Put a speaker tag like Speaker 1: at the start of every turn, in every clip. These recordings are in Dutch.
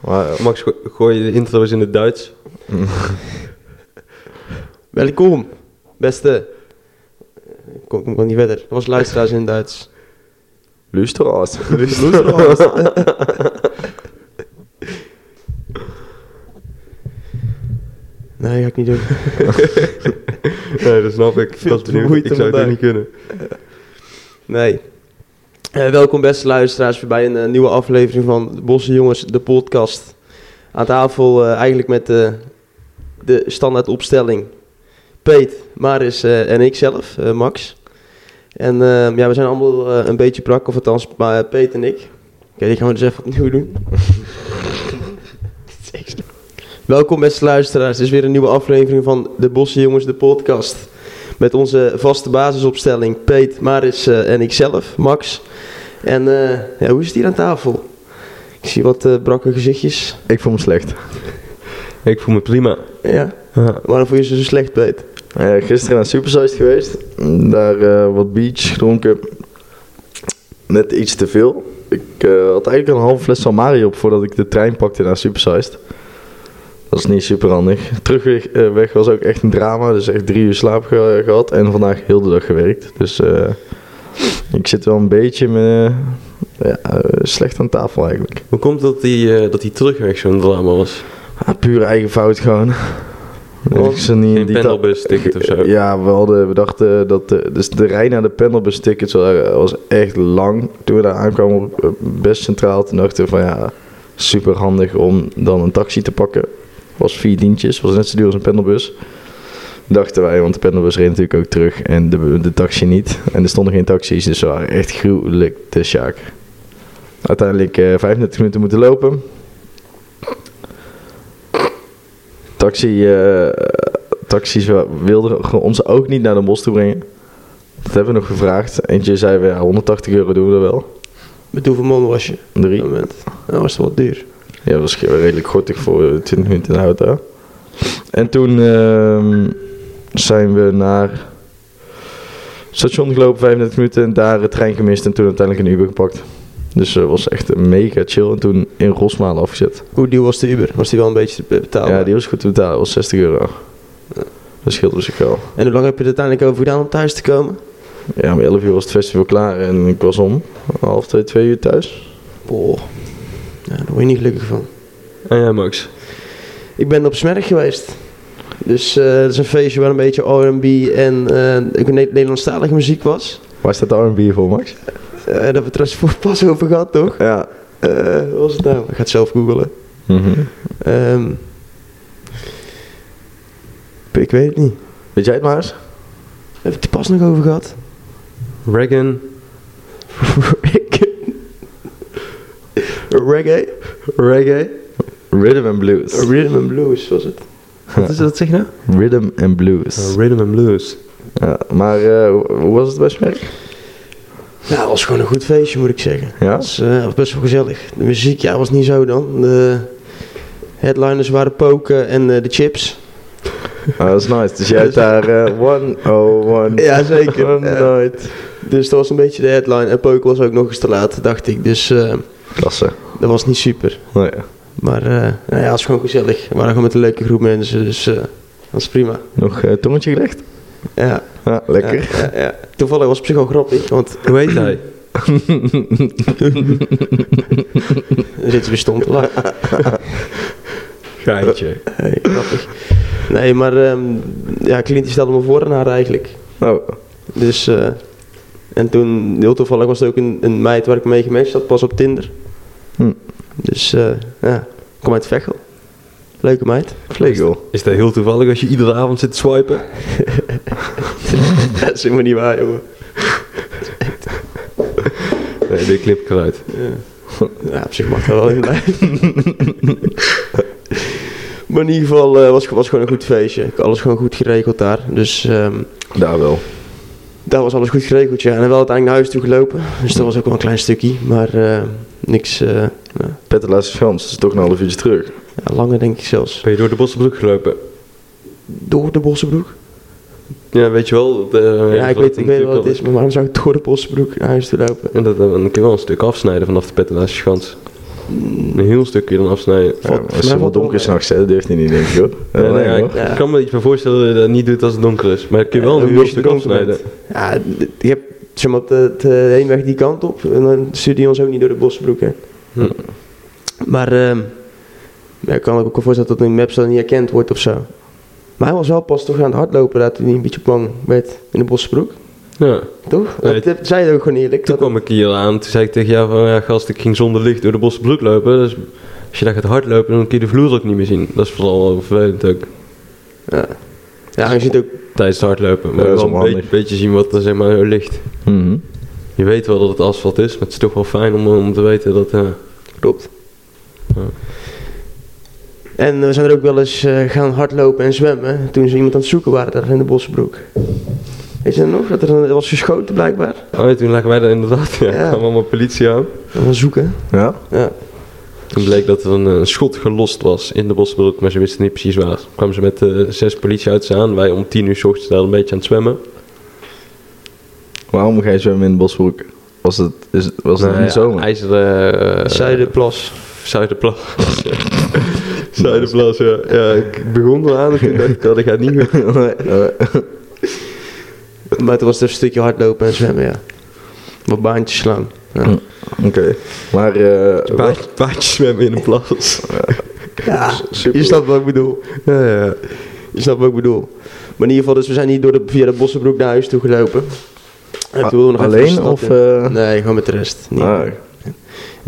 Speaker 1: Maar eh, Max, go- gooi je de intro eens in het Duits.
Speaker 2: Welkom, beste. Ik kom, ik kom niet verder. Dat was luisteraars in het Duits.
Speaker 3: Luisteraars.
Speaker 2: Nee, ga ik niet doen.
Speaker 1: Nee, dat snap ik.
Speaker 2: Veel
Speaker 1: Dat is
Speaker 2: te
Speaker 1: benieuwd.
Speaker 2: vermoeid
Speaker 1: Ik zou het ook
Speaker 2: vandaag.
Speaker 1: niet kunnen.
Speaker 2: Nee. Eh, welkom, beste luisteraars, weer bij een eh, nieuwe aflevering van de Bosse Jongens, de podcast. Aan tafel eh, eigenlijk met eh, de standaard opstelling. Peet, Maris eh, en ik zelf, eh, Max. En eh, ja, we zijn allemaal eh, een beetje brak, of althans maar, eh, Peet en ik. Oké, die gaan we dus even opnieuw doen. welkom, beste luisteraars. Dit is weer een nieuwe aflevering van de Bosse Jongens, de podcast. Met onze vaste basisopstelling Peet, Maris eh, en ikzelf, Max. En eh, ja, hoe is het hier aan tafel? Ik zie wat eh, brakke gezichtjes.
Speaker 3: Ik voel me slecht.
Speaker 1: Ik voel me prima.
Speaker 2: Ja.
Speaker 1: Ja.
Speaker 2: Waarom voel je ze zo slecht, Peet?
Speaker 3: Eh, gisteren naar Supersized geweest. Daar eh, wat beach gedronken. Net iets te veel. Ik eh, had eigenlijk een halve fles Samari op voordat ik de trein pakte naar Supersized. Dat is niet super handig. Terugweg eh, weg was ook echt een drama. Dus echt drie uur slaap ge- gehad. En vandaag heel de dag gewerkt. Dus eh, ik zit wel een beetje met, eh, ja, eh, slecht aan tafel eigenlijk.
Speaker 1: Hoe komt het dat die, eh, dat die terugweg zo'n drama was?
Speaker 3: Ah, puur eigen fout gewoon.
Speaker 1: Want
Speaker 3: Ik zat niet in
Speaker 1: Geen
Speaker 3: detail-
Speaker 1: pendelbus ticket of zo.
Speaker 3: Ja, we, hadden, we dachten dat de, dus de rij naar de panelbus tickets wa- was echt lang. Toen we daar aankwamen op eh, best centraal, toen dachten we van ja, super handig om dan een taxi te pakken. Was vier dientjes, was net zo duur als een panelbus. Dachten wij, want de panelbus reed natuurlijk ook terug en de, de taxi niet. En er stonden geen taxis, dus we waren echt gruwelijk te sjaak. Uiteindelijk eh 35 minuten moeten lopen. Taxi eh, taxis wa- wilden gewoon ons ook niet naar de bos toe brengen. Dat hebben we nog gevraagd. Eentje zei we, ja, 180 euro doen we er wel.
Speaker 2: Met hoeveel man was je op
Speaker 3: Drie.
Speaker 2: dat moment? Dat was wel duur.
Speaker 3: Ja, dat was ge- redelijk gortig voor eh, 20 minuten in de auto. En toen ehm, zijn we naar het station gelopen, 35 minuten. En daar het trein gemist en toen uiteindelijk een Uber gepakt. Dus dat was echt mega chill. En toen in Rosmalen afgezet.
Speaker 2: Hoe duur was de Uber? Was die wel een beetje te betalen?
Speaker 3: Ja, die was goed te betalen. Dat was 60 euro. Dat scheelt op zich wel.
Speaker 2: En hoe lang heb je er uiteindelijk over gedaan om thuis te komen?
Speaker 3: Ja, om 11 uur was het festival klaar en ik was om half twee, twee uur thuis.
Speaker 2: Boah. Ja, daar word je niet gelukkig van.
Speaker 1: En jij, Ah, Max?
Speaker 2: Ik ben op Smerg geweest. Dus eh, dat is een feestje waar een beetje R&B en eh Nederlandstalige muziek was.
Speaker 3: Waar staat de R&B voor, Max?
Speaker 2: Eh, daar hebben we het trouwens voor pas over gehad, toch?
Speaker 3: Ja.
Speaker 2: Eh, wat was het nou? Ik ga het zelf googelen.
Speaker 3: Mhm.
Speaker 2: Ehm, ik weet het niet.
Speaker 3: Weet jij het maar eens?
Speaker 2: Heb ik het er pas nog over gehad?
Speaker 1: Reagan.
Speaker 2: Reggae. Reggae?
Speaker 1: Reggae?
Speaker 3: Rhythm and Blues.
Speaker 2: Rhythm and Blues was het.
Speaker 1: Wat is dat zeg nou? Oh,
Speaker 3: Rhythm and Blues.
Speaker 1: rhythm and blues.
Speaker 3: Ja, maar eh, hoe was het bij Smerk?
Speaker 2: Nou, het was gewoon een goed feestje, moet ik zeggen.
Speaker 3: Ja?
Speaker 2: Het was eh, best wel gezellig. De muziek, ja, was niet zo dan. De headliners waren Poken en eh, de Chips.
Speaker 3: Ah, dat is nice. Dus jij hebt daar eh, 101.
Speaker 2: Ja, zeker.
Speaker 3: One
Speaker 2: Ja.
Speaker 3: night.
Speaker 2: Dus dat was een beetje de headline. En Poken was ook nog eens te laat, dacht ik. Dus eh,
Speaker 3: Klasse.
Speaker 2: dat was niet super.
Speaker 3: Nou ja.
Speaker 2: Maar eh, nou ja, het is gewoon gezellig. We waren gewoon met een leuke groep mensen, dus eh, dat is prima.
Speaker 3: Nog eh, tongetje gelegd?
Speaker 2: Ja,
Speaker 3: Ja, lekker.
Speaker 2: Ja, ja, ja. Toevallig was het op zich wel grappig, want
Speaker 1: Hoe heet hij?
Speaker 2: dan zitten we stom te lachen.
Speaker 1: Geintje.
Speaker 2: Nee, grappig. Nee, maar ehm ja, Clint stelde me voor aan haar eigenlijk.
Speaker 3: Oh,
Speaker 2: Dus, eh, en toen, heel toevallig was er ook een, een meid waar ik mee gematcht had, pas op Tinder.
Speaker 3: Hm.
Speaker 2: Dus eh, ja, kom uit Vechel. Leuke meid.
Speaker 3: vlegel.
Speaker 1: Is dat heel toevallig als je iedere avond zit te swipen?
Speaker 2: dat is helemaal niet waar, jongen.
Speaker 1: Nee, de clip eruit.
Speaker 2: Ja, op zich mag dat wel inderdaad. maar in ieder geval eh, was was gewoon een goed feestje. Ik had Alles gewoon goed geregeld daar. Dus ehm,
Speaker 3: Daar wel.
Speaker 2: daar was alles goed geregeld, ja. En wel uiteindelijk naar huis toe gelopen. Dus dat was ook wel een klein stukje. Maar eh, niks eh, nou,
Speaker 3: Pettelaarse Frans, dat is toch een half uurtje terug.
Speaker 2: ja, langer denk ik zelfs.
Speaker 1: Ben je door de bossenbroek gelopen?
Speaker 2: Door de Bossenbroek?
Speaker 1: Ja, weet je wel. de-
Speaker 2: Ja, ik
Speaker 1: dat
Speaker 2: weet, ik weet wat het is.
Speaker 1: natuurlijk
Speaker 2: Maar waarom zou ik door de Bossenbroek naar huis toe lopen?
Speaker 1: wel- En dat, dan kun je wel een stuk afsnijden vanaf de Petelaarse Schans. een heel stukje dan afsnijden.
Speaker 3: Ja,
Speaker 2: mij
Speaker 3: maar als het wel
Speaker 2: valt
Speaker 3: donker
Speaker 2: het
Speaker 3: is nachts, hè, dat durft hij niet, denk ik, hoor.
Speaker 1: Ja, nee,
Speaker 3: Ja, nee,
Speaker 1: ja,
Speaker 3: hoor.
Speaker 1: ik
Speaker 2: Ja.
Speaker 1: kan me iets van voorstellen dat je dat niet doet als het donker is. Maar dan kun je wel
Speaker 2: Ja,
Speaker 1: een heel
Speaker 2: dan moet je
Speaker 1: stuk
Speaker 2: donker
Speaker 1: afsnijden.
Speaker 2: Ja, d- je hebt zeg maar, de, de heenweg die kant op en dan stuurde hij ons ook niet door de bossenbroek. Hè.
Speaker 1: Hm.
Speaker 2: Maar ehm, ja, ik kan me ook wel voorstellen dat dat in maps dan niet herkend wordt of zo. Maar hij was wel pas toch aan het hardlopen dat hij een beetje bang werd in de bossenbroek,
Speaker 1: Ja.
Speaker 2: toch?
Speaker 1: Nee,
Speaker 2: dat, dat zei je ook gewoon eerlijk.
Speaker 1: Toen
Speaker 2: dat-
Speaker 1: kwam ik hier aan, toen zei ik tegen jou van ja gast, ik ging zonder licht door de bosse broek lopen. Dus als je daar gaat hardlopen, dan kun je de vloer ook niet meer zien. Dat is vooral wel vervelend ook
Speaker 2: ja. ja, je ziet ook
Speaker 1: tijdens het hardlopen.
Speaker 3: Ja,
Speaker 1: Maar
Speaker 3: dat is
Speaker 1: wel een
Speaker 3: onhandig.
Speaker 1: beetje, beetje zien wat er zeg maar ligt.
Speaker 3: Mhm.
Speaker 1: Je weet wel dat het asfalt is, maar het is toch wel fijn om, om te weten dat... eh,
Speaker 2: Klopt.
Speaker 1: Ja.
Speaker 2: En we zijn er ook wel eens eh, gaan hardlopen en zwemmen toen ze iemand aan het zoeken waren daar in de Bossenbroek. Weet je dat nog? Dat er een- er was geschoten blijkbaar.
Speaker 1: Oh, ja, toen lagen wij er inderdaad. Ja,
Speaker 2: Ja.
Speaker 1: kwam allemaal politie aan.
Speaker 2: We gaan zoeken.
Speaker 3: Ja?
Speaker 2: Ja.
Speaker 1: Toen bleek dat er een eh, schot gelost was in de bosbroek, maar ze wisten niet precies waar. Toen kwamen ze met eh, zes politieauto's aan. Wij om tien uur 's ochtends daar een beetje aan het zwemmen.
Speaker 3: Waarom ga je zwemmen in de bosbroek? Was het, is, was het
Speaker 1: Nou
Speaker 3: in de
Speaker 1: ja,
Speaker 3: zomer?
Speaker 1: IJzeren... eh,
Speaker 2: Zuiderplas.
Speaker 1: Zuiderplas. Zuiderplas, ja. ja. Ik begon eraan en toen dacht ik, dat gaat niet meer.
Speaker 2: Maar toen was er een stukje hardlopen en zwemmen, ja. Wat baantjes slaan. Ja.
Speaker 3: Oké. Maar... eh wat-
Speaker 1: Paard, paardje zwemmen in een plas.
Speaker 2: ja.
Speaker 3: super.
Speaker 2: Je snapt wat ik bedoel. Ja, ja, ja. Je snapt wat ik bedoel. Maar in ieder geval, dus we zijn hier door de, via de Bossenbroek naar huis toe gelopen. En
Speaker 3: A-
Speaker 2: toen wilden we nog even de
Speaker 3: alleen
Speaker 2: stad
Speaker 3: of...
Speaker 2: in.
Speaker 3: eh,
Speaker 2: Nee, gewoon met de rest. Niet.
Speaker 3: ah,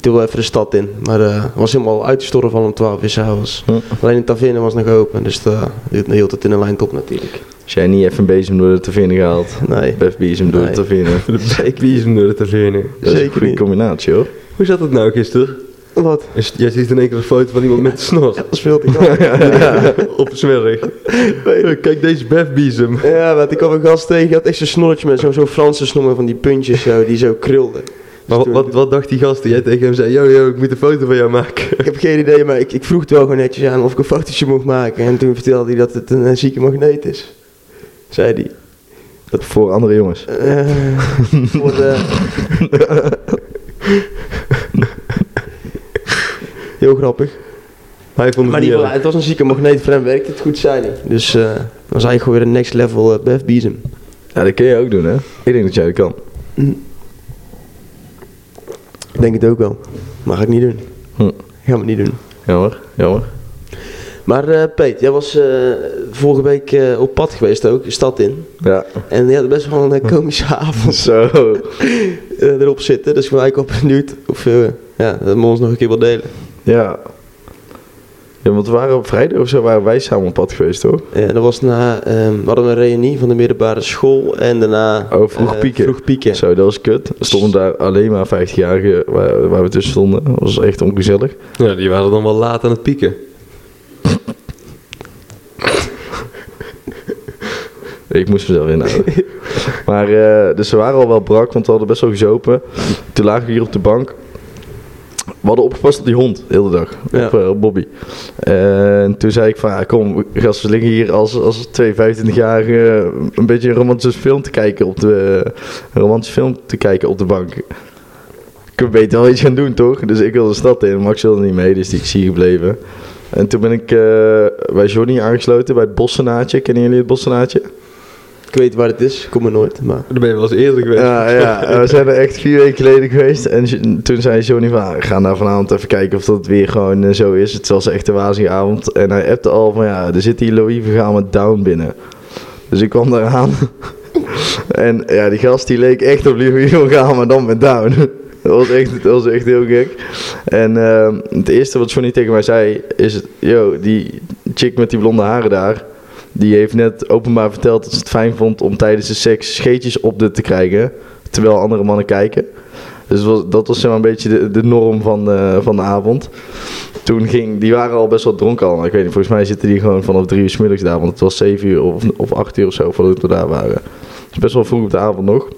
Speaker 2: Toen wel even de stad in, maar eh, het was helemaal uitgestorven van om 12 uur s'avonds.
Speaker 3: Hm.
Speaker 2: Alleen de taverne was nog open, dus eh, dit hield het in een lijn top natuurlijk.
Speaker 3: Als jij niet even een bezem door de taverne gehaald.
Speaker 2: Nee,
Speaker 3: Bef bezem door
Speaker 2: Nee.
Speaker 3: de taverne.
Speaker 1: Ik wie is hem door de taverne?
Speaker 3: Dat is een
Speaker 2: Zeker
Speaker 3: goede
Speaker 2: niet.
Speaker 3: combinatie hoor.
Speaker 1: Hoe zat dat nou gisteren?
Speaker 2: wat?
Speaker 1: Is- Jij ziet in één keer een foto van iemand met een snor.
Speaker 2: Dat speelt hij wel.
Speaker 1: Op zwerg. Kijk, deze Bef Biesem.
Speaker 2: ja, want ik kwam een gast tegen, die had echt zo'n snorretje met zo'n zo'n Franse snor met van die puntjes zo, die zo krulde. Dus
Speaker 1: Maar wat, wat, wat dacht die gast die jij tegen hem zei? Yo, yo, ik moet een foto van jou maken.
Speaker 2: Ik heb geen idee, maar ik, ik vroeg het wel gewoon netjes aan of ik een fotootje mocht maken. En toen vertelde hij dat het een, eh, zieke magneet is. Zei hij.
Speaker 3: Voor andere jongens.
Speaker 2: Eh, voor de... Heel grappig.
Speaker 1: Hij vond het
Speaker 2: Maar in
Speaker 1: niet
Speaker 2: ieder geval,
Speaker 1: erg.
Speaker 2: het was een zieke magneet, voor hem werkte het goed, zei hij. Dus eh dan was hij gewoon weer een next level eh Bef Biesem.
Speaker 3: Ja, dat kun je ook doen hè. Ik denk dat jij dat kan.
Speaker 2: Ik denk het ook wel. Maar ga ik niet doen.
Speaker 3: Hm.
Speaker 2: Gaan we niet doen.
Speaker 3: Jammer, jammer.
Speaker 2: Maar eh Peet, jij was eh, vorige week eh, op pad geweest ook, de stad in.
Speaker 3: Ja.
Speaker 2: En je had best wel een eh, komische avond
Speaker 3: Zo.
Speaker 2: eh, erop zitten. Dus ik ben eigenlijk wel benieuwd of eh, ja, dat we ons nog een keer wil delen.
Speaker 3: Ja. Ja, want we waren op vrijdag of zo waren wij samen op pad geweest hoor.
Speaker 2: Ja, Eh, dat was na, ehm, we hadden een reunie van de middelbare school en daarna...
Speaker 3: Oh, vroeg
Speaker 2: eh,
Speaker 3: pieken.
Speaker 2: Vroeg pieken.
Speaker 3: Zo, dat was kut. Er stonden daar alleen maar 50-jarigen waar, waar we tussen stonden. Dat was echt ongezellig.
Speaker 1: Ja, die waren dan wel laat aan het pieken.
Speaker 3: Ik moest mezelf inhouden. maar, eh, dus we waren al wel brak, want we hadden best wel gezopen. Toen lagen we hier op de bank. We hadden opgepast op die hond, de hele dag.
Speaker 2: Ja.
Speaker 3: Op, eh, op Bobby. En toen zei ik van, ja, kom, gast, we liggen hier als, als twee 25-jarigen een beetje een romantische film te kijken op de, een romantische film te kijken op de bank. Ik kan beter wel iets gaan doen, toch? Dus ik wilde de stad in. Max wilde niet mee, dus die is hier gebleven. En toen ben ik eh, bij Johnny aangesloten, bij het Bossenaatje. Kennen jullie het Bossenaatje?
Speaker 2: Ik weet waar het is, ik kom er nooit, maar...
Speaker 1: Daar ben je wel eens eerder geweest.
Speaker 3: Ja, ja, we zijn er echt vier weken geleden geweest. En j- toen zei Johnny van, "Ah, ga nou vanavond even kijken of dat weer gewoon eh, zo is. Het was echt een wazige avond. En hij appte al van, ja, er zit hier Louis Vergaan met Down binnen. Dus ik kwam daar aan. en ja, die gast die leek echt op Louis Vergaan, maar dan met Down. dat, was echt, dat was echt heel gek. En ehm, het eerste wat Johnny tegen mij zei is, yo, die chick met die blonde haren daar... Die heeft net openbaar verteld dat ze het fijn vond om tijdens de seks scheetjes op de te krijgen. Terwijl andere mannen kijken. Dus was- dat was zeg maar een beetje de, de norm van de, van de avond. Toen ging, die waren al best wel dronken al. Ik weet niet, volgens mij zitten die gewoon vanaf drie uur 's middags daar. Want het was zeven uur of, of acht uur of zo voordat we daar waren. Dus best wel vroeg op de avond nog.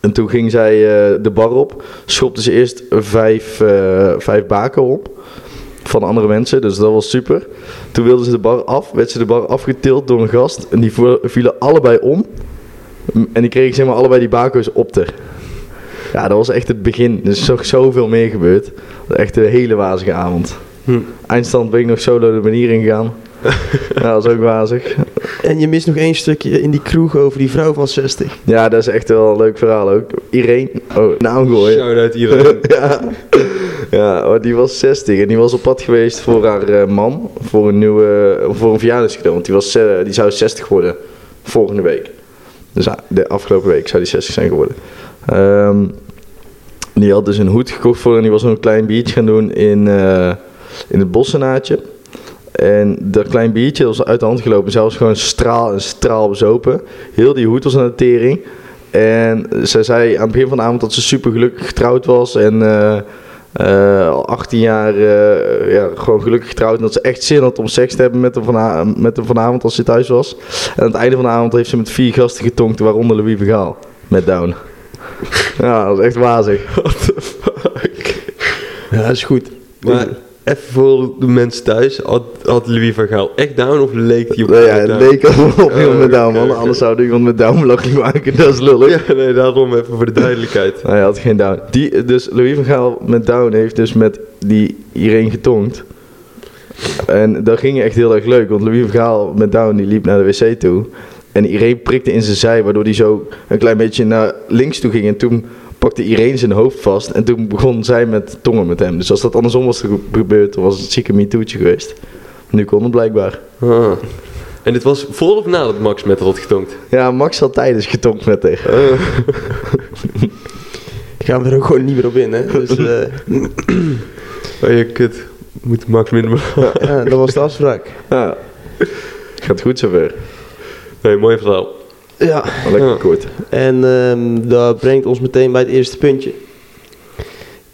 Speaker 3: En toen ging zij eh, de bar op. Schopte ze eerst vijf, eh, vijf baken op. Van andere mensen, dus dat was super. Toen wilden ze de bar af, werd ze de bar afgetild door een gast. En die vo- vielen allebei om. M- En die kregen zeg maar allebei die bako's op ter. Ja, dat was echt het begin. Er is nog zoveel meer gebeurd. Dat was echt een hele wazige avond.
Speaker 1: Hm.
Speaker 3: Eindstand ben ik nog solo de manier ingegaan. ja, dat was ook wazig.
Speaker 2: En je mist nog één stukje in die kroeg over die vrouw van 60.
Speaker 3: Ja, dat is echt wel een leuk verhaal ook. Irene, oh, naam gooien.
Speaker 1: Shout-out iedereen.
Speaker 3: ja, ja maar die was 60 en die was op pad geweest voor haar eh, man. Voor een nieuwe, voor een verjaardagscadeau. Want die, was, eh, die zou 60 worden volgende week. Dus ah, de afgelopen week zou die 60 zijn geworden. Ehm, die had dus een hoed gekocht voor en die was nog een klein biertje gaan doen in, eh, in het bossenaadje. En dat klein biertje was uit de hand gelopen. Zij was gewoon straal en straal bezopen. Heel die hoed was aan de tering. En zij zei aan het begin van de avond dat ze super gelukkig getrouwd was. En eh, eh, al 18 jaar eh, ja, gewoon gelukkig getrouwd. En dat ze echt zin had om seks te hebben met hem, vana- met hem vanavond als ze thuis was. En aan het einde van de avond heeft ze met vier gasten getonkt, waaronder Louis Vergaal. Met Down. ja, dat is echt wazig.
Speaker 2: Ja, dat is goed.
Speaker 1: Maar even voor de mensen thuis. Had, had Louis van Gaal echt down of leek hij op
Speaker 3: Nou ja, het
Speaker 1: down? Oh,
Speaker 3: leek al op iemand met Down,
Speaker 1: oké,
Speaker 3: man.
Speaker 1: oké.
Speaker 3: Anders zou er iemand met Down belachelijk maken. Dat is lullig.
Speaker 1: Ja, nee, daarom even voor de duidelijkheid.
Speaker 3: Nou, hij had geen down. Die, dus Louis van Gaal met down heeft dus met die Irene getongd. En dat ging echt heel erg leuk, want Louis van Gaal met down die liep naar de wc toe. En Irene prikte in zijn zij, waardoor hij zo een klein beetje naar links toe ging. En toen pakte Irene zijn hoofd vast en toen begon zij met tongen met hem. Dus als dat andersom was ge- gebeurd, dan was het zieke MeToo'tje geweest. Nu kon het blijkbaar.
Speaker 1: Ah. En dit was voor of nadat Max met had getonkt?
Speaker 3: Ja, Max had tijdens getongd met haar.
Speaker 1: Ah.
Speaker 2: Gaan we er ook gewoon niet meer op in, hè? Dus eh,
Speaker 1: Oh je kut. Moet Max minder...
Speaker 2: ja, dat was de afspraak.
Speaker 3: Ja. Gaat goed zover.
Speaker 1: Nee, mooi verhaal.
Speaker 2: Ja,
Speaker 3: Lekker
Speaker 1: Ja.
Speaker 3: kort.
Speaker 2: en ehm, dat brengt ons meteen bij het eerste puntje.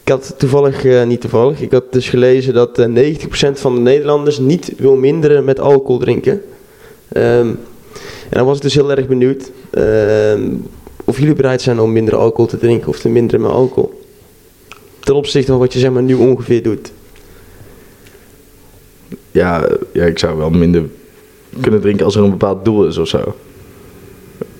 Speaker 2: Ik had toevallig, eh, niet toevallig, ik had dus gelezen dat eh, 90% van de Nederlanders niet wil minderen met alcohol drinken. Ehm, en dan was ik dus heel erg benieuwd ehm, of jullie bereid zijn om minder alcohol te drinken of te minderen met alcohol. Ten opzichte van wat je zeg maar nu ongeveer doet.
Speaker 3: ja, ja, ik zou wel minder kunnen drinken als er een bepaald doel is of zo.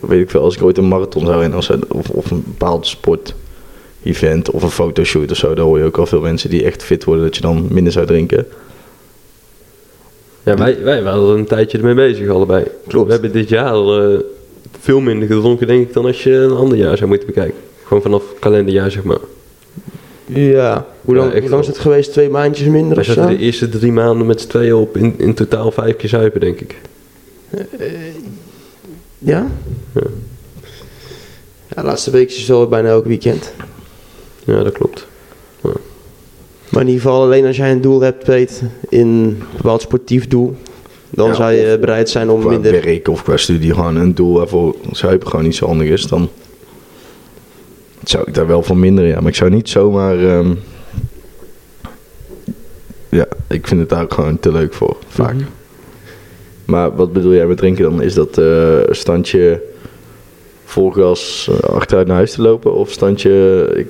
Speaker 3: Weet ik veel, als ik ooit een marathon zou rennen of, zo, of, of een bepaald sport-event of een fotoshoot of zo, daar hoor je ook al veel mensen die echt fit worden dat je dan minder zou drinken.
Speaker 1: Ja, wij, wij waren er een tijdje ermee bezig allebei.
Speaker 3: Klopt.
Speaker 1: We hebben dit jaar eh, veel minder gedronken, denk ik, dan als je een ander jaar zou moeten bekijken. Gewoon vanaf kalenderjaar, zeg maar.
Speaker 2: Ja, hoe lang,
Speaker 1: Ja, echt
Speaker 2: hoe lang is
Speaker 1: wel.
Speaker 2: het geweest? Twee maandjes minder
Speaker 1: Wij
Speaker 2: of zo?
Speaker 1: zaten de eerste drie maanden met z'n tweeën op in, in totaal vijf keer zuipen, denk ik.
Speaker 2: Ja?
Speaker 1: Ja.
Speaker 2: Ja, de laatste week is het wel bijna elk weekend.
Speaker 1: Ja, dat klopt.
Speaker 2: Maar in ieder geval alleen als jij een doel hebt, weet, in een bepaald sportief doel, dan
Speaker 3: Ja,
Speaker 2: zou je bereid zijn om
Speaker 3: Qua
Speaker 2: minder...
Speaker 3: werk of qua studie gewoon een doel waarvoor zuipen gewoon niet zo handig is, dan zou ik daar wel van minderen, ja. Maar ik zou niet zomaar... ehm, ja, ik vind het daar ook gewoon te leuk voor, vaak.
Speaker 2: Mhm.
Speaker 3: Maar wat bedoel jij met drinken dan? Is dat eh, standje vol gas eh, achteruit naar huis te lopen? Of standje ik
Speaker 1: Ik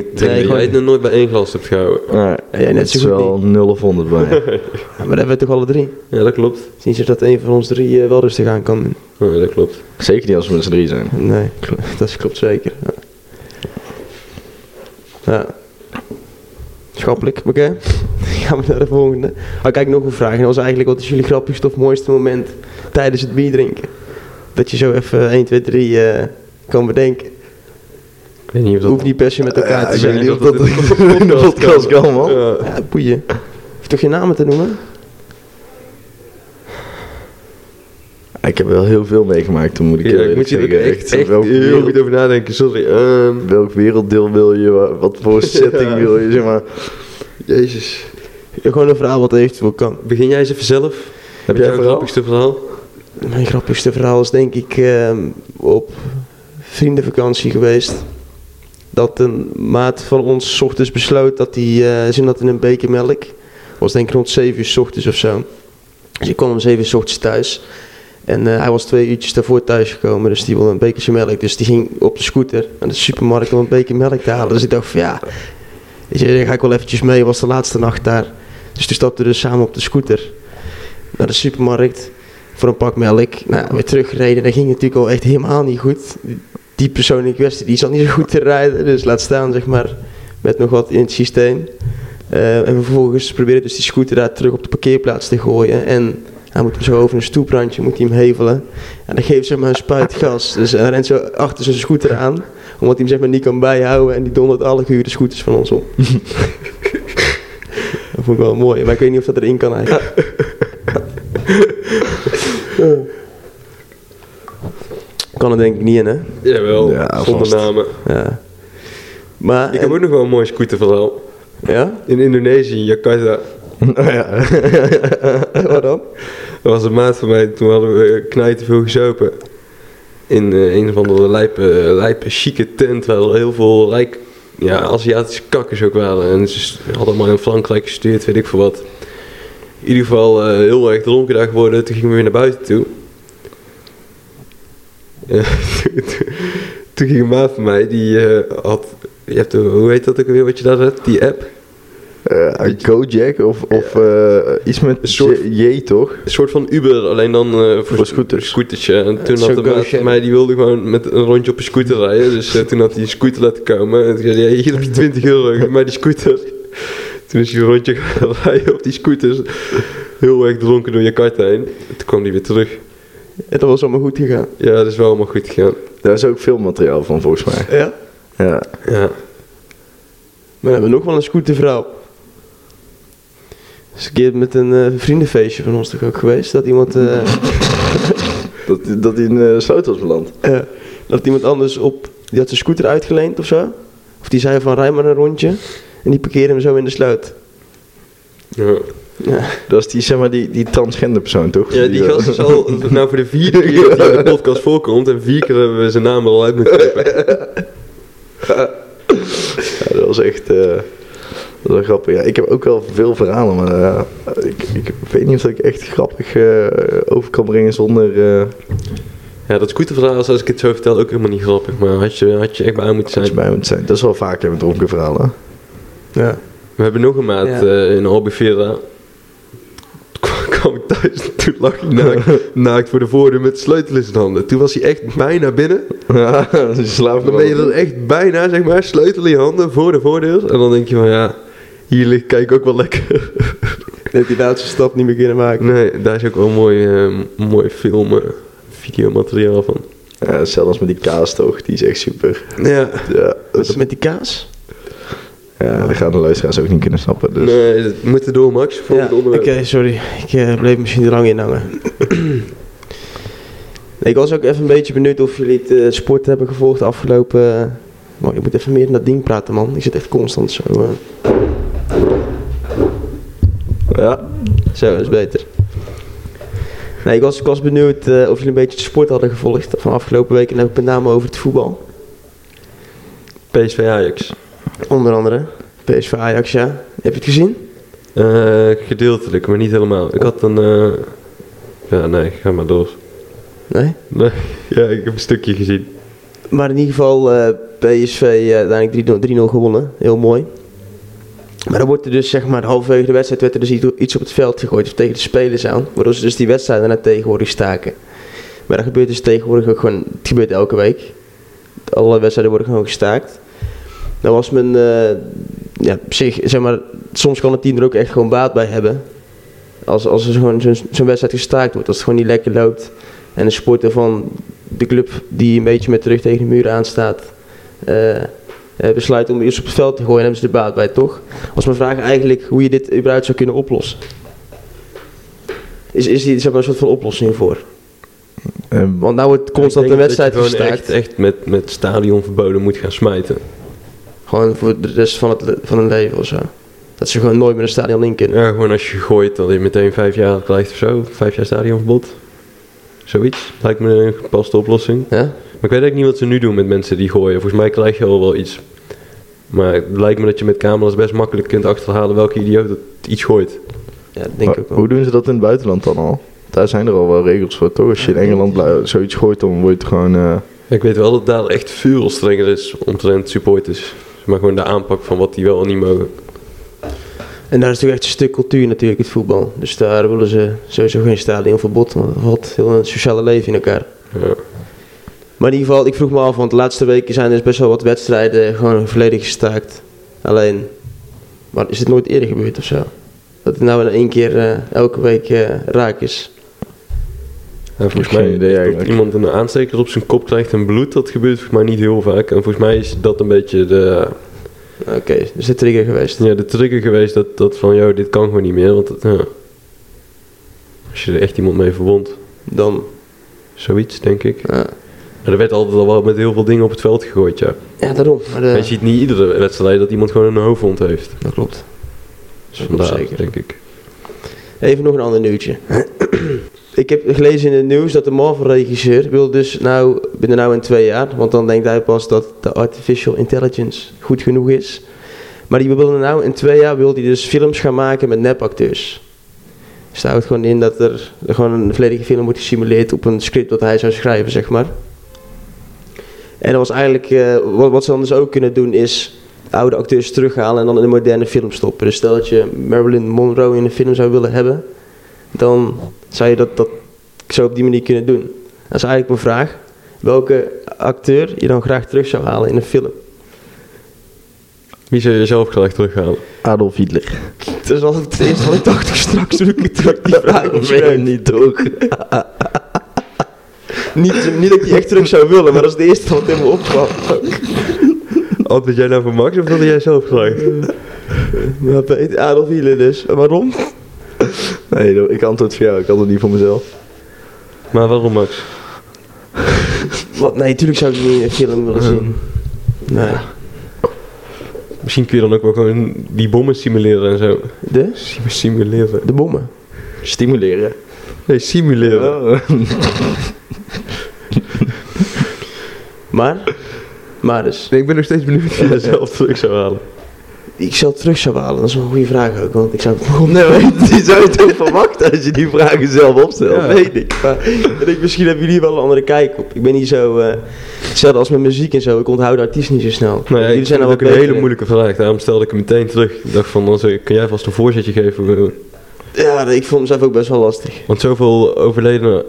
Speaker 1: denk
Speaker 3: drink
Speaker 1: dat
Speaker 2: nee,
Speaker 1: jij
Speaker 2: gewoon-
Speaker 1: het nog nooit bij één glas hebt gehouden.
Speaker 3: Nou,
Speaker 2: Ja, net
Speaker 3: het
Speaker 2: zo
Speaker 3: is
Speaker 2: goed
Speaker 3: wel 0 of 100 bij mij.
Speaker 2: Ja, maar dat hebben we toch alle drie.
Speaker 1: Ja, dat klopt. Oh,
Speaker 2: Sinds je dat een van ons drie eh, wel rustig aan kan doen.
Speaker 1: Ja, dat klopt.
Speaker 3: Zeker niet als we met z'n drie zijn.
Speaker 2: Nee, dat is- klopt zeker. Ja. ja. Schappelijk, oké. Gaan we naar de volgende. Ah, kijk, nog een vraag. En dat was eigenlijk, wat is jullie grappigste of mooiste moment tijdens het bier drinken? Dat je zo even 1, 2, 3 eh, kan bedenken.
Speaker 1: Ik weet niet of dat...
Speaker 2: Hoeft niet per se met elkaar
Speaker 3: Ja,
Speaker 2: te
Speaker 3: ik
Speaker 2: zijn.
Speaker 3: weet niet of
Speaker 1: dat
Speaker 3: dat
Speaker 1: in
Speaker 3: in de podcast kan, man.
Speaker 1: Ja.
Speaker 2: Ja, boeien. Hoef toch geen namen te noemen?
Speaker 3: Ik heb wel heel veel meegemaakt, dan moet ik
Speaker 1: Ja,
Speaker 3: eerlijk
Speaker 1: ik moet hier ook
Speaker 3: zeggen.
Speaker 1: echt, echt
Speaker 3: welk,
Speaker 1: heel
Speaker 3: wereld-
Speaker 1: goed over nadenken, sorry. Ehm,
Speaker 3: welk werelddeel wil je? wa- Wat voor setting wil je? Zeg maar.
Speaker 1: Jezus.
Speaker 2: Gewoon een verhaal wat eventueel kan.
Speaker 1: Begin jij eens even zelf?
Speaker 3: Heb
Speaker 1: Met
Speaker 3: jij
Speaker 1: jouw
Speaker 3: een verhaal?
Speaker 1: grappigste verhaal?
Speaker 2: Mijn grappigste verhaal is denk ik ehm, op vriendenvakantie geweest. Dat een maat van ons 's ochtends besloot dat hij eh zin had in een beker melk. was denk ik rond 7 uur 's ochtends of zo. Dus ik kwam om 7 uur 's ochtends thuis. En eh, hij was twee uurtjes daarvoor thuisgekomen, dus die wilde een bekertje melk. Dus die ging op de scooter naar de supermarkt om een beker melk te halen. Dus ik dacht van ja, weet je, daar ga ik wel eventjes mee. was de laatste nacht daar. Dus toen stapten we dus samen op de scooter naar de supermarkt voor een pak melk. Nou, weer teruggereden. Dat ging natuurlijk al echt helemaal niet goed. die persoon in kwestie, die zat niet zo goed te rijden. Dus laat staan, zeg maar, met nog wat in het systeem. Eh, en vervolgens probeerde dus die scooter daar terug op de parkeerplaats te gooien. En hij moet hem zo over een stoeprandje, moet hij hem hevelen. En dan geeft zeg maar een spuit gas. Dus hij rent zo achter zijn scooter aan. Omdat hij hem zeg maar niet kan bijhouden. En die dondert alle gehuurde scooters van ons op. dat vond ik wel mooi. Maar ik weet niet of dat erin kan eigenlijk. Kan er denk ik niet in, hè?
Speaker 1: Jawel,
Speaker 3: Ja,
Speaker 1: zonder
Speaker 3: vast.
Speaker 1: namen.
Speaker 2: Ja. Maar...
Speaker 1: Ik heb
Speaker 2: en-
Speaker 1: ook nog wel een mooi scooterverhaal.
Speaker 2: Ja?
Speaker 1: In Indonesië, Jakarta.
Speaker 3: Nou ja.
Speaker 2: Wat dan?
Speaker 1: Er was een maat van mij, toen hadden we eh, knijten veel gezopen. In eh, een van de lijpe, eh, lijpe chique tent, waar er heel veel rijk, ja, Aziatische kakkers ook waren. En ze hadden maar in Frankrijk gestudeerd, weet ik veel wat. In ieder geval eh, heel erg dronken daar geworden, toen gingen we weer naar buiten toe. Eh, toen- toen- toen ging een maat van mij, die eh, had, je hebt, een- hoe heet dat ook weer wat je daar hebt, die app?
Speaker 3: Eh, Gojek of, of eh, iets met
Speaker 1: Een soort-
Speaker 3: J, J, toch?
Speaker 1: Een soort van Uber, alleen dan eh, voor,
Speaker 3: Voor scooters.
Speaker 1: scootertje. En toen
Speaker 2: Zo
Speaker 1: had de
Speaker 2: go
Speaker 1: maat van
Speaker 2: share.
Speaker 1: mij, die wilde gewoon met een rondje op een scooter rijden. Dus eh, toen had hij een scooter laten komen. En toen zei hij, "Ja, hier heb je 20 euro, geef mij die scooter. Toen is hij een rondje gaan rijden op die scooters. Heel erg dronken door Jakarta heen. Toen kwam hij weer terug.
Speaker 2: Het was allemaal goed gegaan.
Speaker 1: Ja, dat is wel allemaal goed gegaan.
Speaker 3: Daar is ook veel materiaal van, volgens mij.
Speaker 2: Ja?
Speaker 3: Ja.
Speaker 1: Ja.
Speaker 2: Maar we hebben nog wel een scootervrouw. Is een keer met een eh, vriendenfeestje van ons toch ook geweest. Dat iemand, eh,
Speaker 3: Dat, dat hij in eh sloot was beland.
Speaker 2: eh, dat iemand anders op... Die had zijn scooter uitgeleend of zo. Of die zei van rij maar een rondje. En die parkeerde hem zo in de sluit.
Speaker 1: Ja,
Speaker 2: Ja.
Speaker 3: Dat is die, zeg maar, die, die transgender persoon, toch? eh,
Speaker 1: ja die gast is al nou voor de vierde keer dat hij in de podcast voorkomt. En vier keer hebben we zijn naam er al uit moeten knippen.
Speaker 3: Ja, dat was echt... eh, dat was wel grappig. Ja, ik heb ook wel veel verhalen, maar eh, ik, ik weet niet of ik echt grappig eh, over kan brengen zonder... eh,
Speaker 1: Ja, dat scooterverhaal is als ik het zo vertel ook helemaal niet grappig. Maar had je, had je echt bij aan moeten zijn.
Speaker 3: iets bij moet zijn. Dat is wel vaker met dronken verhalen.
Speaker 2: ja.
Speaker 1: We hebben nog een maat
Speaker 2: Ja.
Speaker 1: eh, in Albufeira. Toen kwam- kwam ik thuis en toen lag hij naakt, naakt voor de voordeur met de sleutel in zijn handen. Toen was hij echt bijna binnen.
Speaker 3: Ja, ze slapen
Speaker 1: Dan ben je dan echt bijna, zeg maar, sleutel in je handen voor de voordeur. En dan denk je van ja, hier ligt kijk ook wel lekker.
Speaker 2: Dat die laatste stap niet meer kunnen maken.
Speaker 1: Nee, daar is ook wel mooi, eh, mooi film, eh, videomateriaal van.
Speaker 3: Ja, hetzelfde als met die kaas, toch? Die is echt super.
Speaker 1: Ja.
Speaker 3: Ja,
Speaker 2: Wat
Speaker 3: dat
Speaker 2: is het met die kaas?
Speaker 3: Ja, dat gaan de luisteraars ook niet kunnen snappen. Dus.
Speaker 1: Nee, dat moet door Max voor het
Speaker 2: Oké,
Speaker 1: onderwerp.
Speaker 2: sorry. Ik eh, bleef misschien te lang in hangen. Nee, ik was ook even een beetje benieuwd of jullie het eh, sport hebben gevolgd de afgelopen... eh, Oh, je moet even meer in dat ding praten, man. Ik zit echt constant zo. eh.
Speaker 3: Ja.
Speaker 2: Zo, dat is beter. Nee, ik was, ik was benieuwd eh, of jullie een beetje de sport hadden gevolgd van afgelopen week. En dan heb ik met name over het voetbal.
Speaker 1: PSV Ajax.
Speaker 2: Onder andere PSV Ajax, ja. Heb je het gezien?
Speaker 1: Eh, gedeeltelijk, maar niet helemaal. Ik had een... eh, Ja, nee, ga maar door.
Speaker 2: Nee?
Speaker 1: Nee, ja, ik heb een stukje gezien.
Speaker 2: Maar in ieder geval, eh, PSV eh, uiteindelijk 3-0 3-0 gewonnen. Heel mooi. Maar dan wordt er dus, zeg maar, halverwege de wedstrijd werd er dus iets- iets op het veld gegooid of tegen de spelers aan. Waardoor ze dus die wedstrijd daarna tegenwoordig staken. Maar dat gebeurt dus tegenwoordig ook gewoon, het gebeurt elke week. Alle wedstrijden worden gewoon gestaakt. Dan was men, eh, ja, op zich, zeg maar, soms kan het team er ook echt gewoon baat bij hebben. Als, als er gewoon zo'n zo'n wedstrijd gestaakt wordt, als het gewoon niet lekker loopt. En een sporter van de club die een beetje met de rug tegen de muur aanstaat, eh, eh, besluit om eerst op het veld te gooien, hebben ze er baat bij, toch? Was mijn vraag eigenlijk hoe je dit überhaupt zou kunnen oplossen? Is, is hier zeg maar, een soort van oplossing voor?
Speaker 3: En
Speaker 2: Want nou wordt constant
Speaker 1: Ik
Speaker 2: een
Speaker 1: denk
Speaker 2: wedstrijd
Speaker 1: dat je gewoon
Speaker 2: gestaakt.
Speaker 1: echt, echt met, met stadionverboden moet gaan smijten.
Speaker 2: Gewoon voor de rest van, het, le- van hun leven of zo. Dat ze gewoon nooit meer een stadion in kunnen.
Speaker 1: Ja, gewoon als je gooit dat je meteen vijf jaar krijgt of zo. Vijf jaar stadionverbod. Zoiets. Lijkt me een gepaste oplossing.
Speaker 2: Ja?
Speaker 1: Maar ik weet eigenlijk niet wat ze nu doen met mensen die gooien. Volgens mij krijg je al wel iets. Maar het lijkt me dat je met camera's best makkelijk kunt achterhalen welke idioot het iets gooit.
Speaker 2: Ja, dat denk ik
Speaker 3: maar
Speaker 2: ook wel.
Speaker 3: Hoe doen ze dat in het buitenland dan al? Daar zijn er al wel regels voor, toch? Als je in Engeland blij- zoiets gooit, dan word je gewoon... eh,
Speaker 1: Ik weet wel dat daar echt veel strenger is omtrent supporters. Maar gewoon de aanpak van wat die wel en niet mogen.
Speaker 2: En daar is natuurlijk echt een stuk cultuur natuurlijk, het voetbal. Dus daar willen ze sowieso geen stadion verbod, want dat valt heel een sociale leven in elkaar.
Speaker 1: Ja.
Speaker 2: Maar in ieder geval, ik vroeg me af, want de laatste weken zijn er dus best wel wat wedstrijden gewoon volledig gestaakt. Alleen, maar is het nooit eerder gebeurd of zo? Dat het nou in één keer eh, elke week eh, raak is.
Speaker 1: Ja, volgens
Speaker 3: Geen
Speaker 1: mij
Speaker 3: idee
Speaker 1: dat
Speaker 3: eigenlijk.
Speaker 1: iemand een aansteker op zijn kop krijgt en bloed, dat gebeurt volgens mij niet heel vaak. En volgens mij is dat een beetje de,
Speaker 2: Oké, dus de trigger geweest.
Speaker 1: ja, de trigger geweest dat, dat van, joh, dit kan gewoon niet meer. Want dat, ja. als je er echt iemand mee verbond,
Speaker 2: Dan,
Speaker 1: zoiets denk ik.
Speaker 2: eh,
Speaker 1: Maar er werd altijd al wel met heel veel dingen op het veld gegooid, ja.
Speaker 2: ja, daarom. Maar, eh,
Speaker 1: Maar je ziet niet iedere wedstrijd dat iemand gewoon een hoofdwond heeft.
Speaker 2: Dat klopt.
Speaker 1: Dus
Speaker 2: Dat klopt
Speaker 1: vandaar,
Speaker 2: zeker.
Speaker 1: denk ik.
Speaker 2: Even nog een ander nieuwtje. ik heb gelezen in het nieuws dat de Marvel-regisseur wil dus nou, binnen nou en twee jaar, want dan denkt hij pas dat de artificial intelligence goed genoeg is. Maar die wil nou in twee jaar wil hij dus films gaan maken met nepacteurs. Dus dat houdt gewoon in dat er gewoon een volledige film wordt gesimuleerd op een script dat hij zou schrijven, zeg maar. En dat was eigenlijk, eh, wat, wat ze dan dus ook kunnen doen is oude acteurs terughalen en dan in een moderne film stoppen. Dus stel dat je Marilyn Monroe in een film zou willen hebben, dan zou je dat, dat zo op die manier kunnen doen. Dat is eigenlijk mijn vraag. Welke acteur je dan graag terug zou halen in een film?
Speaker 1: Wie zou je zelf graag terughalen?
Speaker 3: Adolf Hitler.
Speaker 2: Dat is altijd Dus het eerste wat ik dacht. Straks doe ik het terug, die vraag op
Speaker 3: Nee, niet toch?
Speaker 2: Niet, niet dat ik die echt terug zou willen, maar dat is de eerste wat in me opkwam.
Speaker 1: Antwoord jij nou voor Max of wilde jij zelf graag?
Speaker 2: Ja, Peter Adolf Hitler dus. En Waarom?
Speaker 3: Nee, ik antwoord voor jou. Ik antwoord niet voor mezelf.
Speaker 1: Maar waarom Max?
Speaker 2: Wat? Nee, natuurlijk zou ik die niet in een film willen zien. Nee.
Speaker 1: Misschien kun je dan ook wel gewoon die bommen simuleren en zo.
Speaker 2: De?
Speaker 1: Sim- Simuleren.
Speaker 2: De bommen.
Speaker 3: Stimuleren. Oh.
Speaker 1: Nee, simuleren.
Speaker 2: Maar, maar dus,
Speaker 1: Nee, ik ben nog steeds benieuwd of je jezelf terug zou halen.
Speaker 2: ik zou het terug zou halen. Dat is wel een goede vraag ook, want ik zou...
Speaker 3: Nee, maar die zou je toch verwachten als je die vragen zelf opstelt?
Speaker 1: Ja.
Speaker 3: Weet ik.
Speaker 2: Maar, ik denk, misschien hebben jullie wel een andere kijk op. Ik ben niet zo... eh, hetzelfde als met muziek en zo, ik onthoud de artiest niet zo snel.
Speaker 1: Nou ja,
Speaker 2: jullie
Speaker 1: ik zijn
Speaker 2: al
Speaker 1: ook een hele moeilijke vraag. Daarom stelde ik hem meteen terug. Ik dacht van, dan zou- kan jij vast een voorzetje geven?
Speaker 2: Ja, ik vond mezelf ook best wel lastig.
Speaker 1: Want zoveel overledene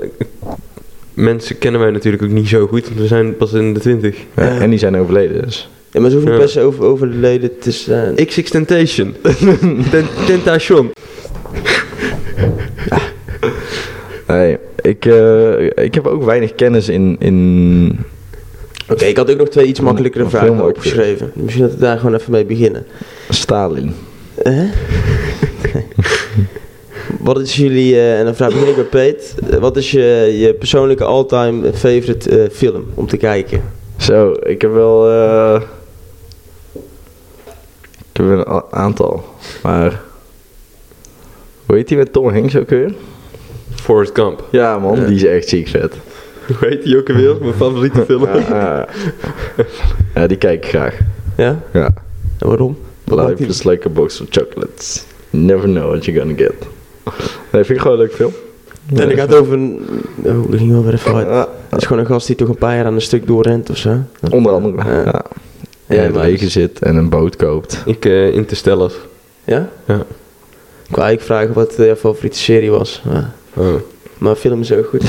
Speaker 1: mensen kennen wij natuurlijk ook niet zo goed. Want we zijn pas in de twintig.
Speaker 2: Ja,
Speaker 3: en die zijn overleden dus.
Speaker 2: Ja, maar ze hoeven niet
Speaker 1: Ja.
Speaker 2: per se over, overleden te zijn.
Speaker 1: XX Tentation. Ten- tentation.
Speaker 3: Nee, ik, eh, ik heb ook weinig kennis in... in
Speaker 2: Oké, ik had ook nog twee iets makkelijkere
Speaker 3: Een
Speaker 2: vragen
Speaker 3: film ook.
Speaker 2: opgeschreven. Misschien dat we daar gewoon even mee beginnen.
Speaker 3: Stalin.
Speaker 2: Hè? wat is jullie, eh, en dan vraag ik bij Peet, eh, wat is je, je persoonlijke all-time favorite eh, film om te kijken?
Speaker 3: Zo, ik heb wel... eh, ik heb een a- aantal. Maar... Hoe heet die met Tom Hanks ook weer?
Speaker 1: Forrest Gump.
Speaker 3: Ja man, die is echt ziek vet.
Speaker 1: Hoe heet die ook alweer? Mijn favoriete film.
Speaker 3: Ja, ja. Ja, die kijk ik graag.
Speaker 2: Ja?
Speaker 3: Ja.
Speaker 2: En waarom? Wat maakt
Speaker 3: Life
Speaker 2: die-
Speaker 3: is like a box of chocolates. Never know what you're gonna get. Nee, vind ik gewoon een leuk film.
Speaker 2: En dat gaat over een... Oh, dat ging wel weer even hard.
Speaker 3: Ja,
Speaker 2: Dat is gewoon een gast die toch een paar jaar aan een stuk doorrent of zo.
Speaker 3: onder andere.
Speaker 2: Ja.
Speaker 3: Ja. En
Speaker 2: Ja,
Speaker 3: in het
Speaker 2: maar-
Speaker 3: leger zit en een boot koopt.
Speaker 1: Ik uh, Interstellar.
Speaker 2: Ja?
Speaker 1: Ja.
Speaker 2: Ik wou eigenlijk vragen wat eh, jouw favoriete serie was. Maar,
Speaker 1: Oh.
Speaker 2: maar film is ook goed.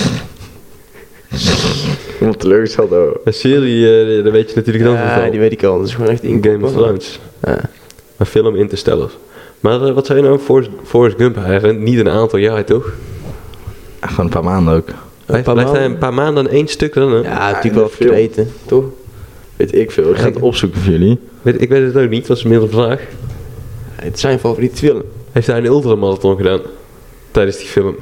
Speaker 3: Iemand teleurgesteld. Oh.
Speaker 1: Een serie, eh, daar weet je natuurlijk dan
Speaker 2: Ja,
Speaker 1: van.
Speaker 2: die weet ik al. Dat is gewoon echt
Speaker 1: In Game of
Speaker 2: inkomen.
Speaker 1: Thrones.
Speaker 2: Ja.
Speaker 1: Een film Interstellar. Maar eh, wat zei je nou? Forrest, Forrest Gump, hij rent niet een aantal jaar, toch?
Speaker 3: Ja, gewoon een paar maanden ook.
Speaker 1: Hij
Speaker 2: paar
Speaker 1: blijft hij
Speaker 2: maanden.
Speaker 1: Eh, een paar maanden aan één stuk rennen?
Speaker 2: Ja,
Speaker 3: in
Speaker 2: natuurlijk wel
Speaker 3: de film.
Speaker 2: veel eten, toch?
Speaker 3: Weet ik veel. Ik ga het opzoeken voor jullie.
Speaker 1: Weet, ik weet het ook niet, dat is inmiddels een vraag.
Speaker 2: Het is zijn favoriete film.
Speaker 1: Heeft hij een ultramarathon gedaan? Tijdens die film.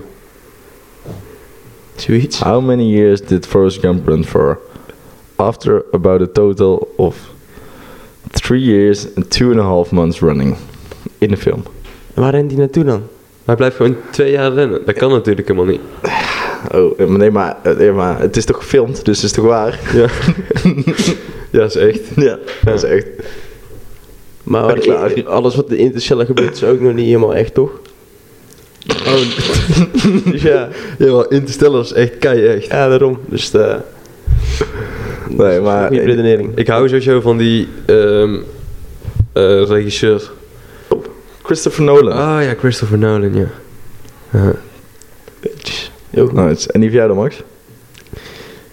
Speaker 2: Zoiets.
Speaker 3: How many years did Forrest Gump run for? After about a total of three years and two and a half months running. In de film.
Speaker 2: En waar rent die naartoe dan?
Speaker 1: Hij blijft gewoon twee jaar rennen. Dat kan natuurlijk helemaal niet.
Speaker 3: Oh, eh, maar nee maar, eh, nee, maar het is toch gefilmd, dus het is toch waar?
Speaker 1: Ja, ja dat is echt.
Speaker 3: Ja, dat is echt.
Speaker 2: Maar
Speaker 3: Ben klaar.
Speaker 2: i- alles wat in de intercellen gebeurt is ook nog niet helemaal echt, toch?
Speaker 1: Oh,
Speaker 2: Dus ja,
Speaker 1: ja, Interstellar is echt kei echt.
Speaker 2: ja daarom. Dus eh dus
Speaker 3: Nee, maar-
Speaker 2: Goede redenering.
Speaker 1: Ik hou sowieso van die ehm, eh, regisseur.
Speaker 3: Christopher Nolan.
Speaker 1: Ah ja, Christopher Nolan, ja. Ja.
Speaker 2: Heel goed.
Speaker 3: Nice. En die van jou dan, Max?
Speaker 2: Het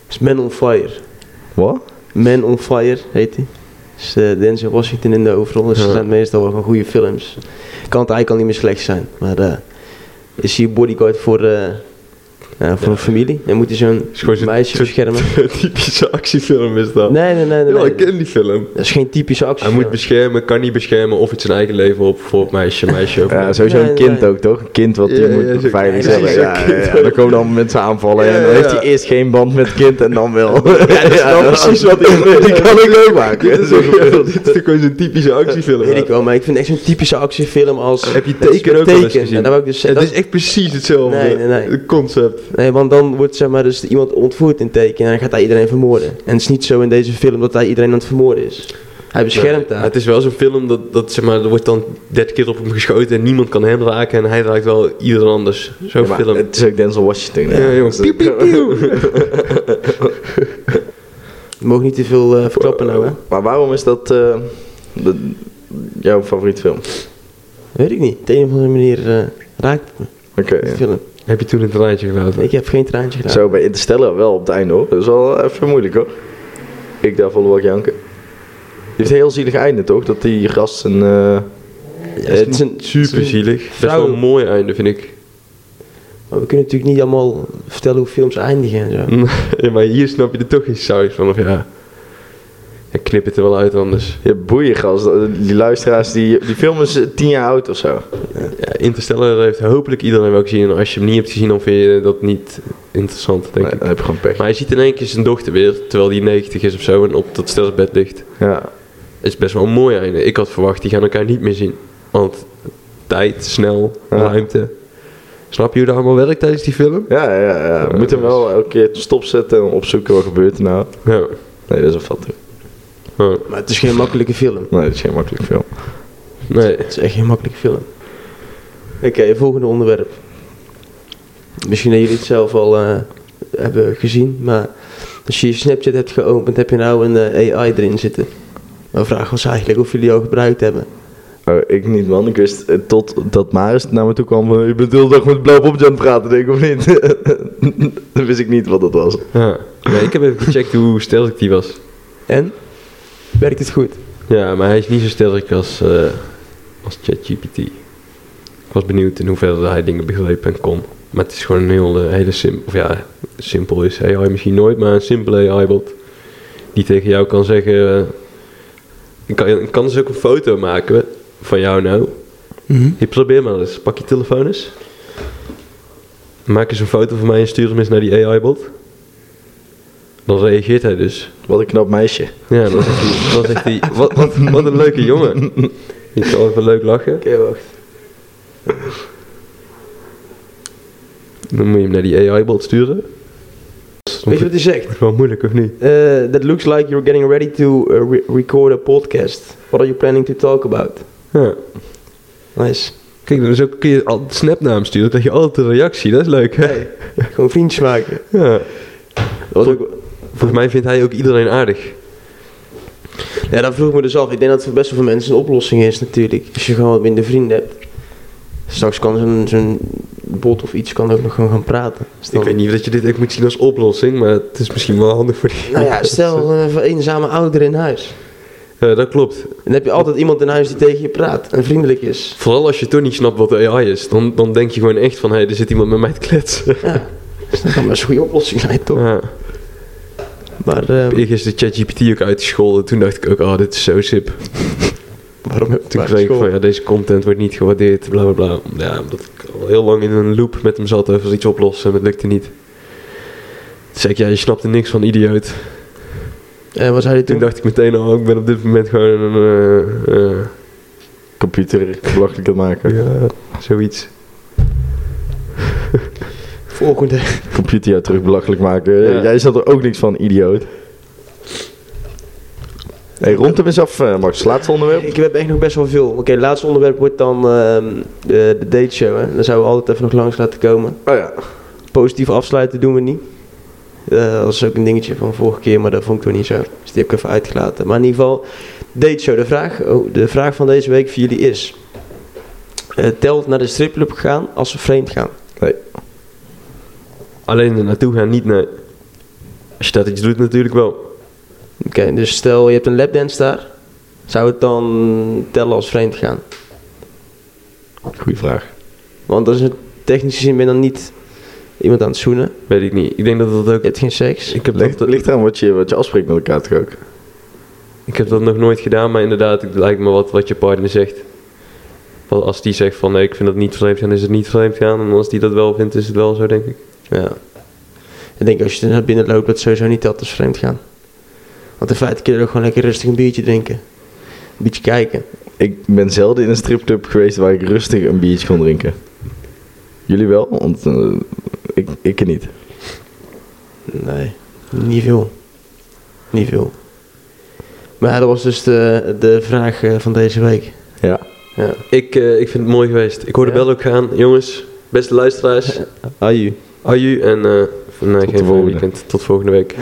Speaker 2: is Man on Fire.
Speaker 3: Wat?
Speaker 2: Man on Fire heet die. Dus eh Denzel Washington in de overal. Dus
Speaker 1: Ja.
Speaker 2: dat zijn meestal wel gewoon goede films. Kan het eigenlijk al niet meer slecht zijn. Maar eh, is hier bodyguard voor, eh, nou, voor
Speaker 1: Ja.
Speaker 2: een familie? En moet hij zo'n
Speaker 1: Is gewoon zo'n
Speaker 2: meisje
Speaker 1: zo'n
Speaker 2: beschermen?
Speaker 1: Typische actiefilm is dat.
Speaker 2: Nee, nee, nee. nee,
Speaker 1: Ja,
Speaker 2: nee.
Speaker 1: ik ken die film.
Speaker 2: Dat is geen typische actie.
Speaker 1: Hij moet dus beschermen, kan niet beschermen of het zijn eigen leven op voor het meisje, meisje of
Speaker 3: Ja,
Speaker 1: niet.
Speaker 3: sowieso
Speaker 2: Nee,
Speaker 3: een kind
Speaker 2: nee.
Speaker 3: ook, toch? Een kind wat die
Speaker 1: Ja, ja,
Speaker 3: moet
Speaker 1: zo-
Speaker 3: beveiligen.
Speaker 2: ja,
Speaker 3: Ja,
Speaker 2: precies,
Speaker 3: ja,
Speaker 1: een kind
Speaker 3: ja.
Speaker 1: ook.
Speaker 3: Dan komen dan mensen aanvallen en
Speaker 1: Ja,
Speaker 3: dan heeft
Speaker 1: ja.
Speaker 3: hij eerst geen band met kind en dan wel. Ja, dat is
Speaker 2: dat is precies
Speaker 3: wat ik Die kan ik ook maken.
Speaker 1: Dit is ook- ja, dit is toch gewoon zo'n typische actiefilm.
Speaker 2: Weet ik wel, maar ik vind echt zo'n typische actiefilm als...
Speaker 1: Heb je
Speaker 2: Dat is
Speaker 1: teken
Speaker 2: met
Speaker 1: ook wel eens
Speaker 2: Taken.
Speaker 1: gezien?
Speaker 2: En dat wou ik dus
Speaker 1: Het
Speaker 2: zeggen.
Speaker 1: is echt precies hetzelfde.
Speaker 2: Nee, nee, nee.
Speaker 1: Het concept.
Speaker 2: Nee, want dan wordt zeg maar dus iemand ontvoerd in teken en dan gaat hij iedereen vermoorden. En het is niet zo in deze film dat hij iedereen aan het vermoorden is. Hij beschermt
Speaker 1: Ja,
Speaker 2: haar.
Speaker 1: Het is wel zo'n film dat, dat zeg maar, er wordt dan 30 keer op hem geschoten en niemand kan hem raken en hij raakt wel ieder anders. Zo'n
Speaker 3: Ja, maar
Speaker 1: film.
Speaker 3: Het is ook Denzel Washington.
Speaker 1: ja, jongen.
Speaker 3: Dus-
Speaker 1: Piep, piep, piep.
Speaker 2: We mogen niet te veel eh, verklappen nou, hè?
Speaker 3: Maar waarom is dat eh, de- jouw favoriete film?
Speaker 2: Weet ik niet. Op de een of andere manier eh, raakt het me,
Speaker 3: Oké.
Speaker 2: die
Speaker 3: ja.
Speaker 2: film.
Speaker 1: Heb je toen een traantje gelaten?
Speaker 2: Ik heb geen traantje gedaan.
Speaker 3: Zo bij Interstellar wel op het einde hoor. Dat is wel even moeilijk hoor. Ik daar volle wat janken. Het heeft een heel zielig einde toch? Dat die gast een. eh,
Speaker 2: Ja, het is een
Speaker 1: Super zielig. Best wel
Speaker 2: Vrouwen-
Speaker 1: een mooi einde, vind ik.
Speaker 2: Maar we kunnen natuurlijk niet allemaal vertellen hoe films eindigen en zo.
Speaker 1: ja, maar hier snap je er toch geen saus van, of ja. Ja, knip het er wel uit anders.
Speaker 3: Ja, boeien gast. Die luisteraars, die, die film is eh, tien jaar oud of zo.
Speaker 1: Ja, Interstellar heeft hopelijk iedereen wel gezien. En als je hem niet hebt gezien, dan vind je dat niet interessant, denk
Speaker 3: Nee,
Speaker 1: ik.
Speaker 3: dan heb je gewoon pech.
Speaker 1: Maar hij ziet in één keer zijn dochter weer, terwijl die 90 is of zo, en op dat sterrenbed ligt.
Speaker 3: Ja.
Speaker 1: Het is best wel een mooi einde. Ik had verwacht, die gaan elkaar niet meer zien. Want tijd, snel,
Speaker 3: Ja.
Speaker 1: ruimte. Snap je hoe dat allemaal werkt tijdens die film?
Speaker 3: Ja, ja, ja. We
Speaker 1: Ja, dus-
Speaker 3: moeten hem
Speaker 1: dat is-
Speaker 3: wel elke keer stopzetten en opzoeken wat gebeurt er nou.
Speaker 1: Ja.
Speaker 3: Nee, dat is een fatsoen.
Speaker 1: Ja.
Speaker 2: Maar het is geen makkelijke film.
Speaker 3: Nee, dat is geen makkelijk film.
Speaker 1: Nee.
Speaker 2: Het is echt geen makkelijke film. Oké, volgende onderwerp. Misschien dat jullie het zelf al eh, hebben gezien, maar als je je Snapchat hebt geopend, heb je nou een eh, AI erin zitten. Mijn vraag was eigenlijk of jullie al gebruikt hebben.
Speaker 3: Oh, ik niet, man. Ik wist eh, tot dat Maris naar me toe kwam van... Je bent de hele dag met blauw popje aan het praten, denk ik, of niet? dan wist ik niet wat dat was.
Speaker 1: Ja. Nee, ik heb even gecheckt hoe sterk die was.
Speaker 2: En? Werkt het goed?
Speaker 1: Ja, maar hij is niet zo sterk als, eh, als ChatGPT. Ik was benieuwd in hoeverre hij dingen begreep en kon. Maar het is gewoon een heel, eh, hele simpel... Of ja, simpel is AI misschien nooit, maar een simpele AI-bot. Die tegen jou kan zeggen... eh, ik kan, ik kan dus ook een foto maken van jou nou. Hier, probeer maar eens. Pak je telefoon eens. Maak eens een foto van mij en stuur hem eens naar die AI-bot. Dan reageert hij dus.
Speaker 3: Wat een knap meisje.
Speaker 1: Ja, dan zegt hij, dan zegt hij wat, wat, wat een leuke jongen. Ik zal even leuk lachen.
Speaker 2: Oké, wacht.
Speaker 1: Dan moet je hem naar die AI-bot sturen. Dat
Speaker 2: Weet je wat hij zegt?
Speaker 1: is wel moeilijk, of niet?
Speaker 2: Eh, that looks like you're getting ready to eh, re- record a podcast. What are you planning to talk about?
Speaker 1: Ja.
Speaker 2: Nice.
Speaker 1: Kijk, dan is ook, kun je al een snapnaam sturen, dan krijg je altijd een reactie. Dat is leuk, hè?
Speaker 2: Hey, gewoon vriendjes maken.
Speaker 1: Ja.
Speaker 2: Wat ook,
Speaker 1: Volgens mij vindt hij ook iedereen aardig.
Speaker 2: Ja, dat vroeg ik me dus af. Ik denk dat het voor best wel veel mensen een oplossing is natuurlijk. Als je gewoon wat minder vrienden hebt. Straks kan zo'n zo'n bot of iets kan ook nog gewoon gaan praten. Dus dan-
Speaker 1: Ik weet niet of je dit ook moet zien als oplossing, maar het is misschien wel handig voor die.
Speaker 2: Nou ja, stel eh, voor eenzame ouder in huis.
Speaker 1: Ja, dat klopt.
Speaker 2: Dan heb je altijd iemand in huis die tegen je praat en vriendelijk is.
Speaker 1: Vooral als je toch niet snapt wat de AI is, dan, dan denk je gewoon echt van, hé, hey, er zit iemand met mij te kletsen.
Speaker 2: Ja, dus dat kan best een goede oplossing zijn toch?
Speaker 1: Ja.
Speaker 2: Maar eh,
Speaker 1: Ik is de ChatGPT ook uitgescholden. Toen dacht ik ook, oh, dit is zo sip.
Speaker 2: waarom heb
Speaker 1: Toen
Speaker 2: ik
Speaker 1: kreeg ik van,
Speaker 2: school?
Speaker 1: ja, deze content wordt niet gewaardeerd, bla bla bla. Ja, omdat ik al heel lang in een loop met hem zat over iets oplossen en dat lukte niet. Toen zei ik, ja, je snapt er niks van, idioot.
Speaker 2: En eh, wat zei hij
Speaker 1: Toen
Speaker 2: toen?
Speaker 1: dacht ik meteen, oh, ik ben op dit moment gewoon een, eh, eh,
Speaker 3: Computer belachelijk aan het maken.
Speaker 1: ja, zoiets.
Speaker 2: Volgende.
Speaker 3: Computer jou terug belachelijk maken.
Speaker 1: Ja.
Speaker 3: Jij zat er ook niks van, idioot. hey, rond hem eens af, eh, Max. Laatste onderwerp.
Speaker 2: Ik heb echt nog best wel veel. Oké, het laatste onderwerp wordt dan ehm, de, de dateshow. Hè? Daar zouden we altijd even nog langs laten komen.
Speaker 3: Oh ja.
Speaker 2: Positief afsluiten doen we niet. Eh, dat was ook een dingetje van vorige keer, maar dat vond ik toen niet zo. Dus die heb ik even uitgelaten. Maar in ieder geval, date show. De vraag, oh, de vraag van deze week voor jullie is... eh, telt naar de stripclub gaan als ze vreemd gaan.
Speaker 1: Alleen er naartoe gaan, niet naar... Als je dat iets doet natuurlijk wel.
Speaker 2: Oké, dus stel je hebt een lapdance daar. Zou het dan tellen als vreemd gaan?
Speaker 3: Goeie vraag.
Speaker 2: Want dat is een technische zin ben je dan niet iemand aan het zoenen.
Speaker 1: Weet ik niet. Ik denk dat dat ook...
Speaker 2: Je hebt geen seks.
Speaker 1: Ik heb,
Speaker 3: Ligt,
Speaker 1: dat,
Speaker 3: ligt eraan wat je, wat je afspreekt met elkaar toch ook.
Speaker 1: ik heb dat nog nooit gedaan, maar inderdaad, het lijkt me wat, wat je partner zegt. Want als die zegt van nee, ik vind dat niet vreemd gaan, is het niet vreemd gaan. En als die dat wel vindt, is het wel zo, denk ik.
Speaker 2: Ja. Ik denk als je er naar binnen loopt, dat het sowieso niet telt als vreemd gaan. Want in feite kun je ook gewoon lekker rustig een biertje drinken. Een biertje kijken.
Speaker 3: Ik ben zelden in een stripclub geweest waar ik rustig een biertje kon drinken. Jullie wel? Want eh, ik, ik niet.
Speaker 2: Nee, niet veel. Niet veel. Maar ja, dat was dus de, de vraag eh, van deze week.
Speaker 3: Ja.
Speaker 2: Ja.
Speaker 1: Ik, eh, ik vind het mooi geweest. Ik hoor de
Speaker 2: Ja?
Speaker 1: bel ook gaan. Jongens, beste luisteraars,
Speaker 2: Aju.
Speaker 1: aju en eh nee,
Speaker 3: de
Speaker 1: geen fijn
Speaker 3: volgende.
Speaker 1: weekend. Tot volgende week.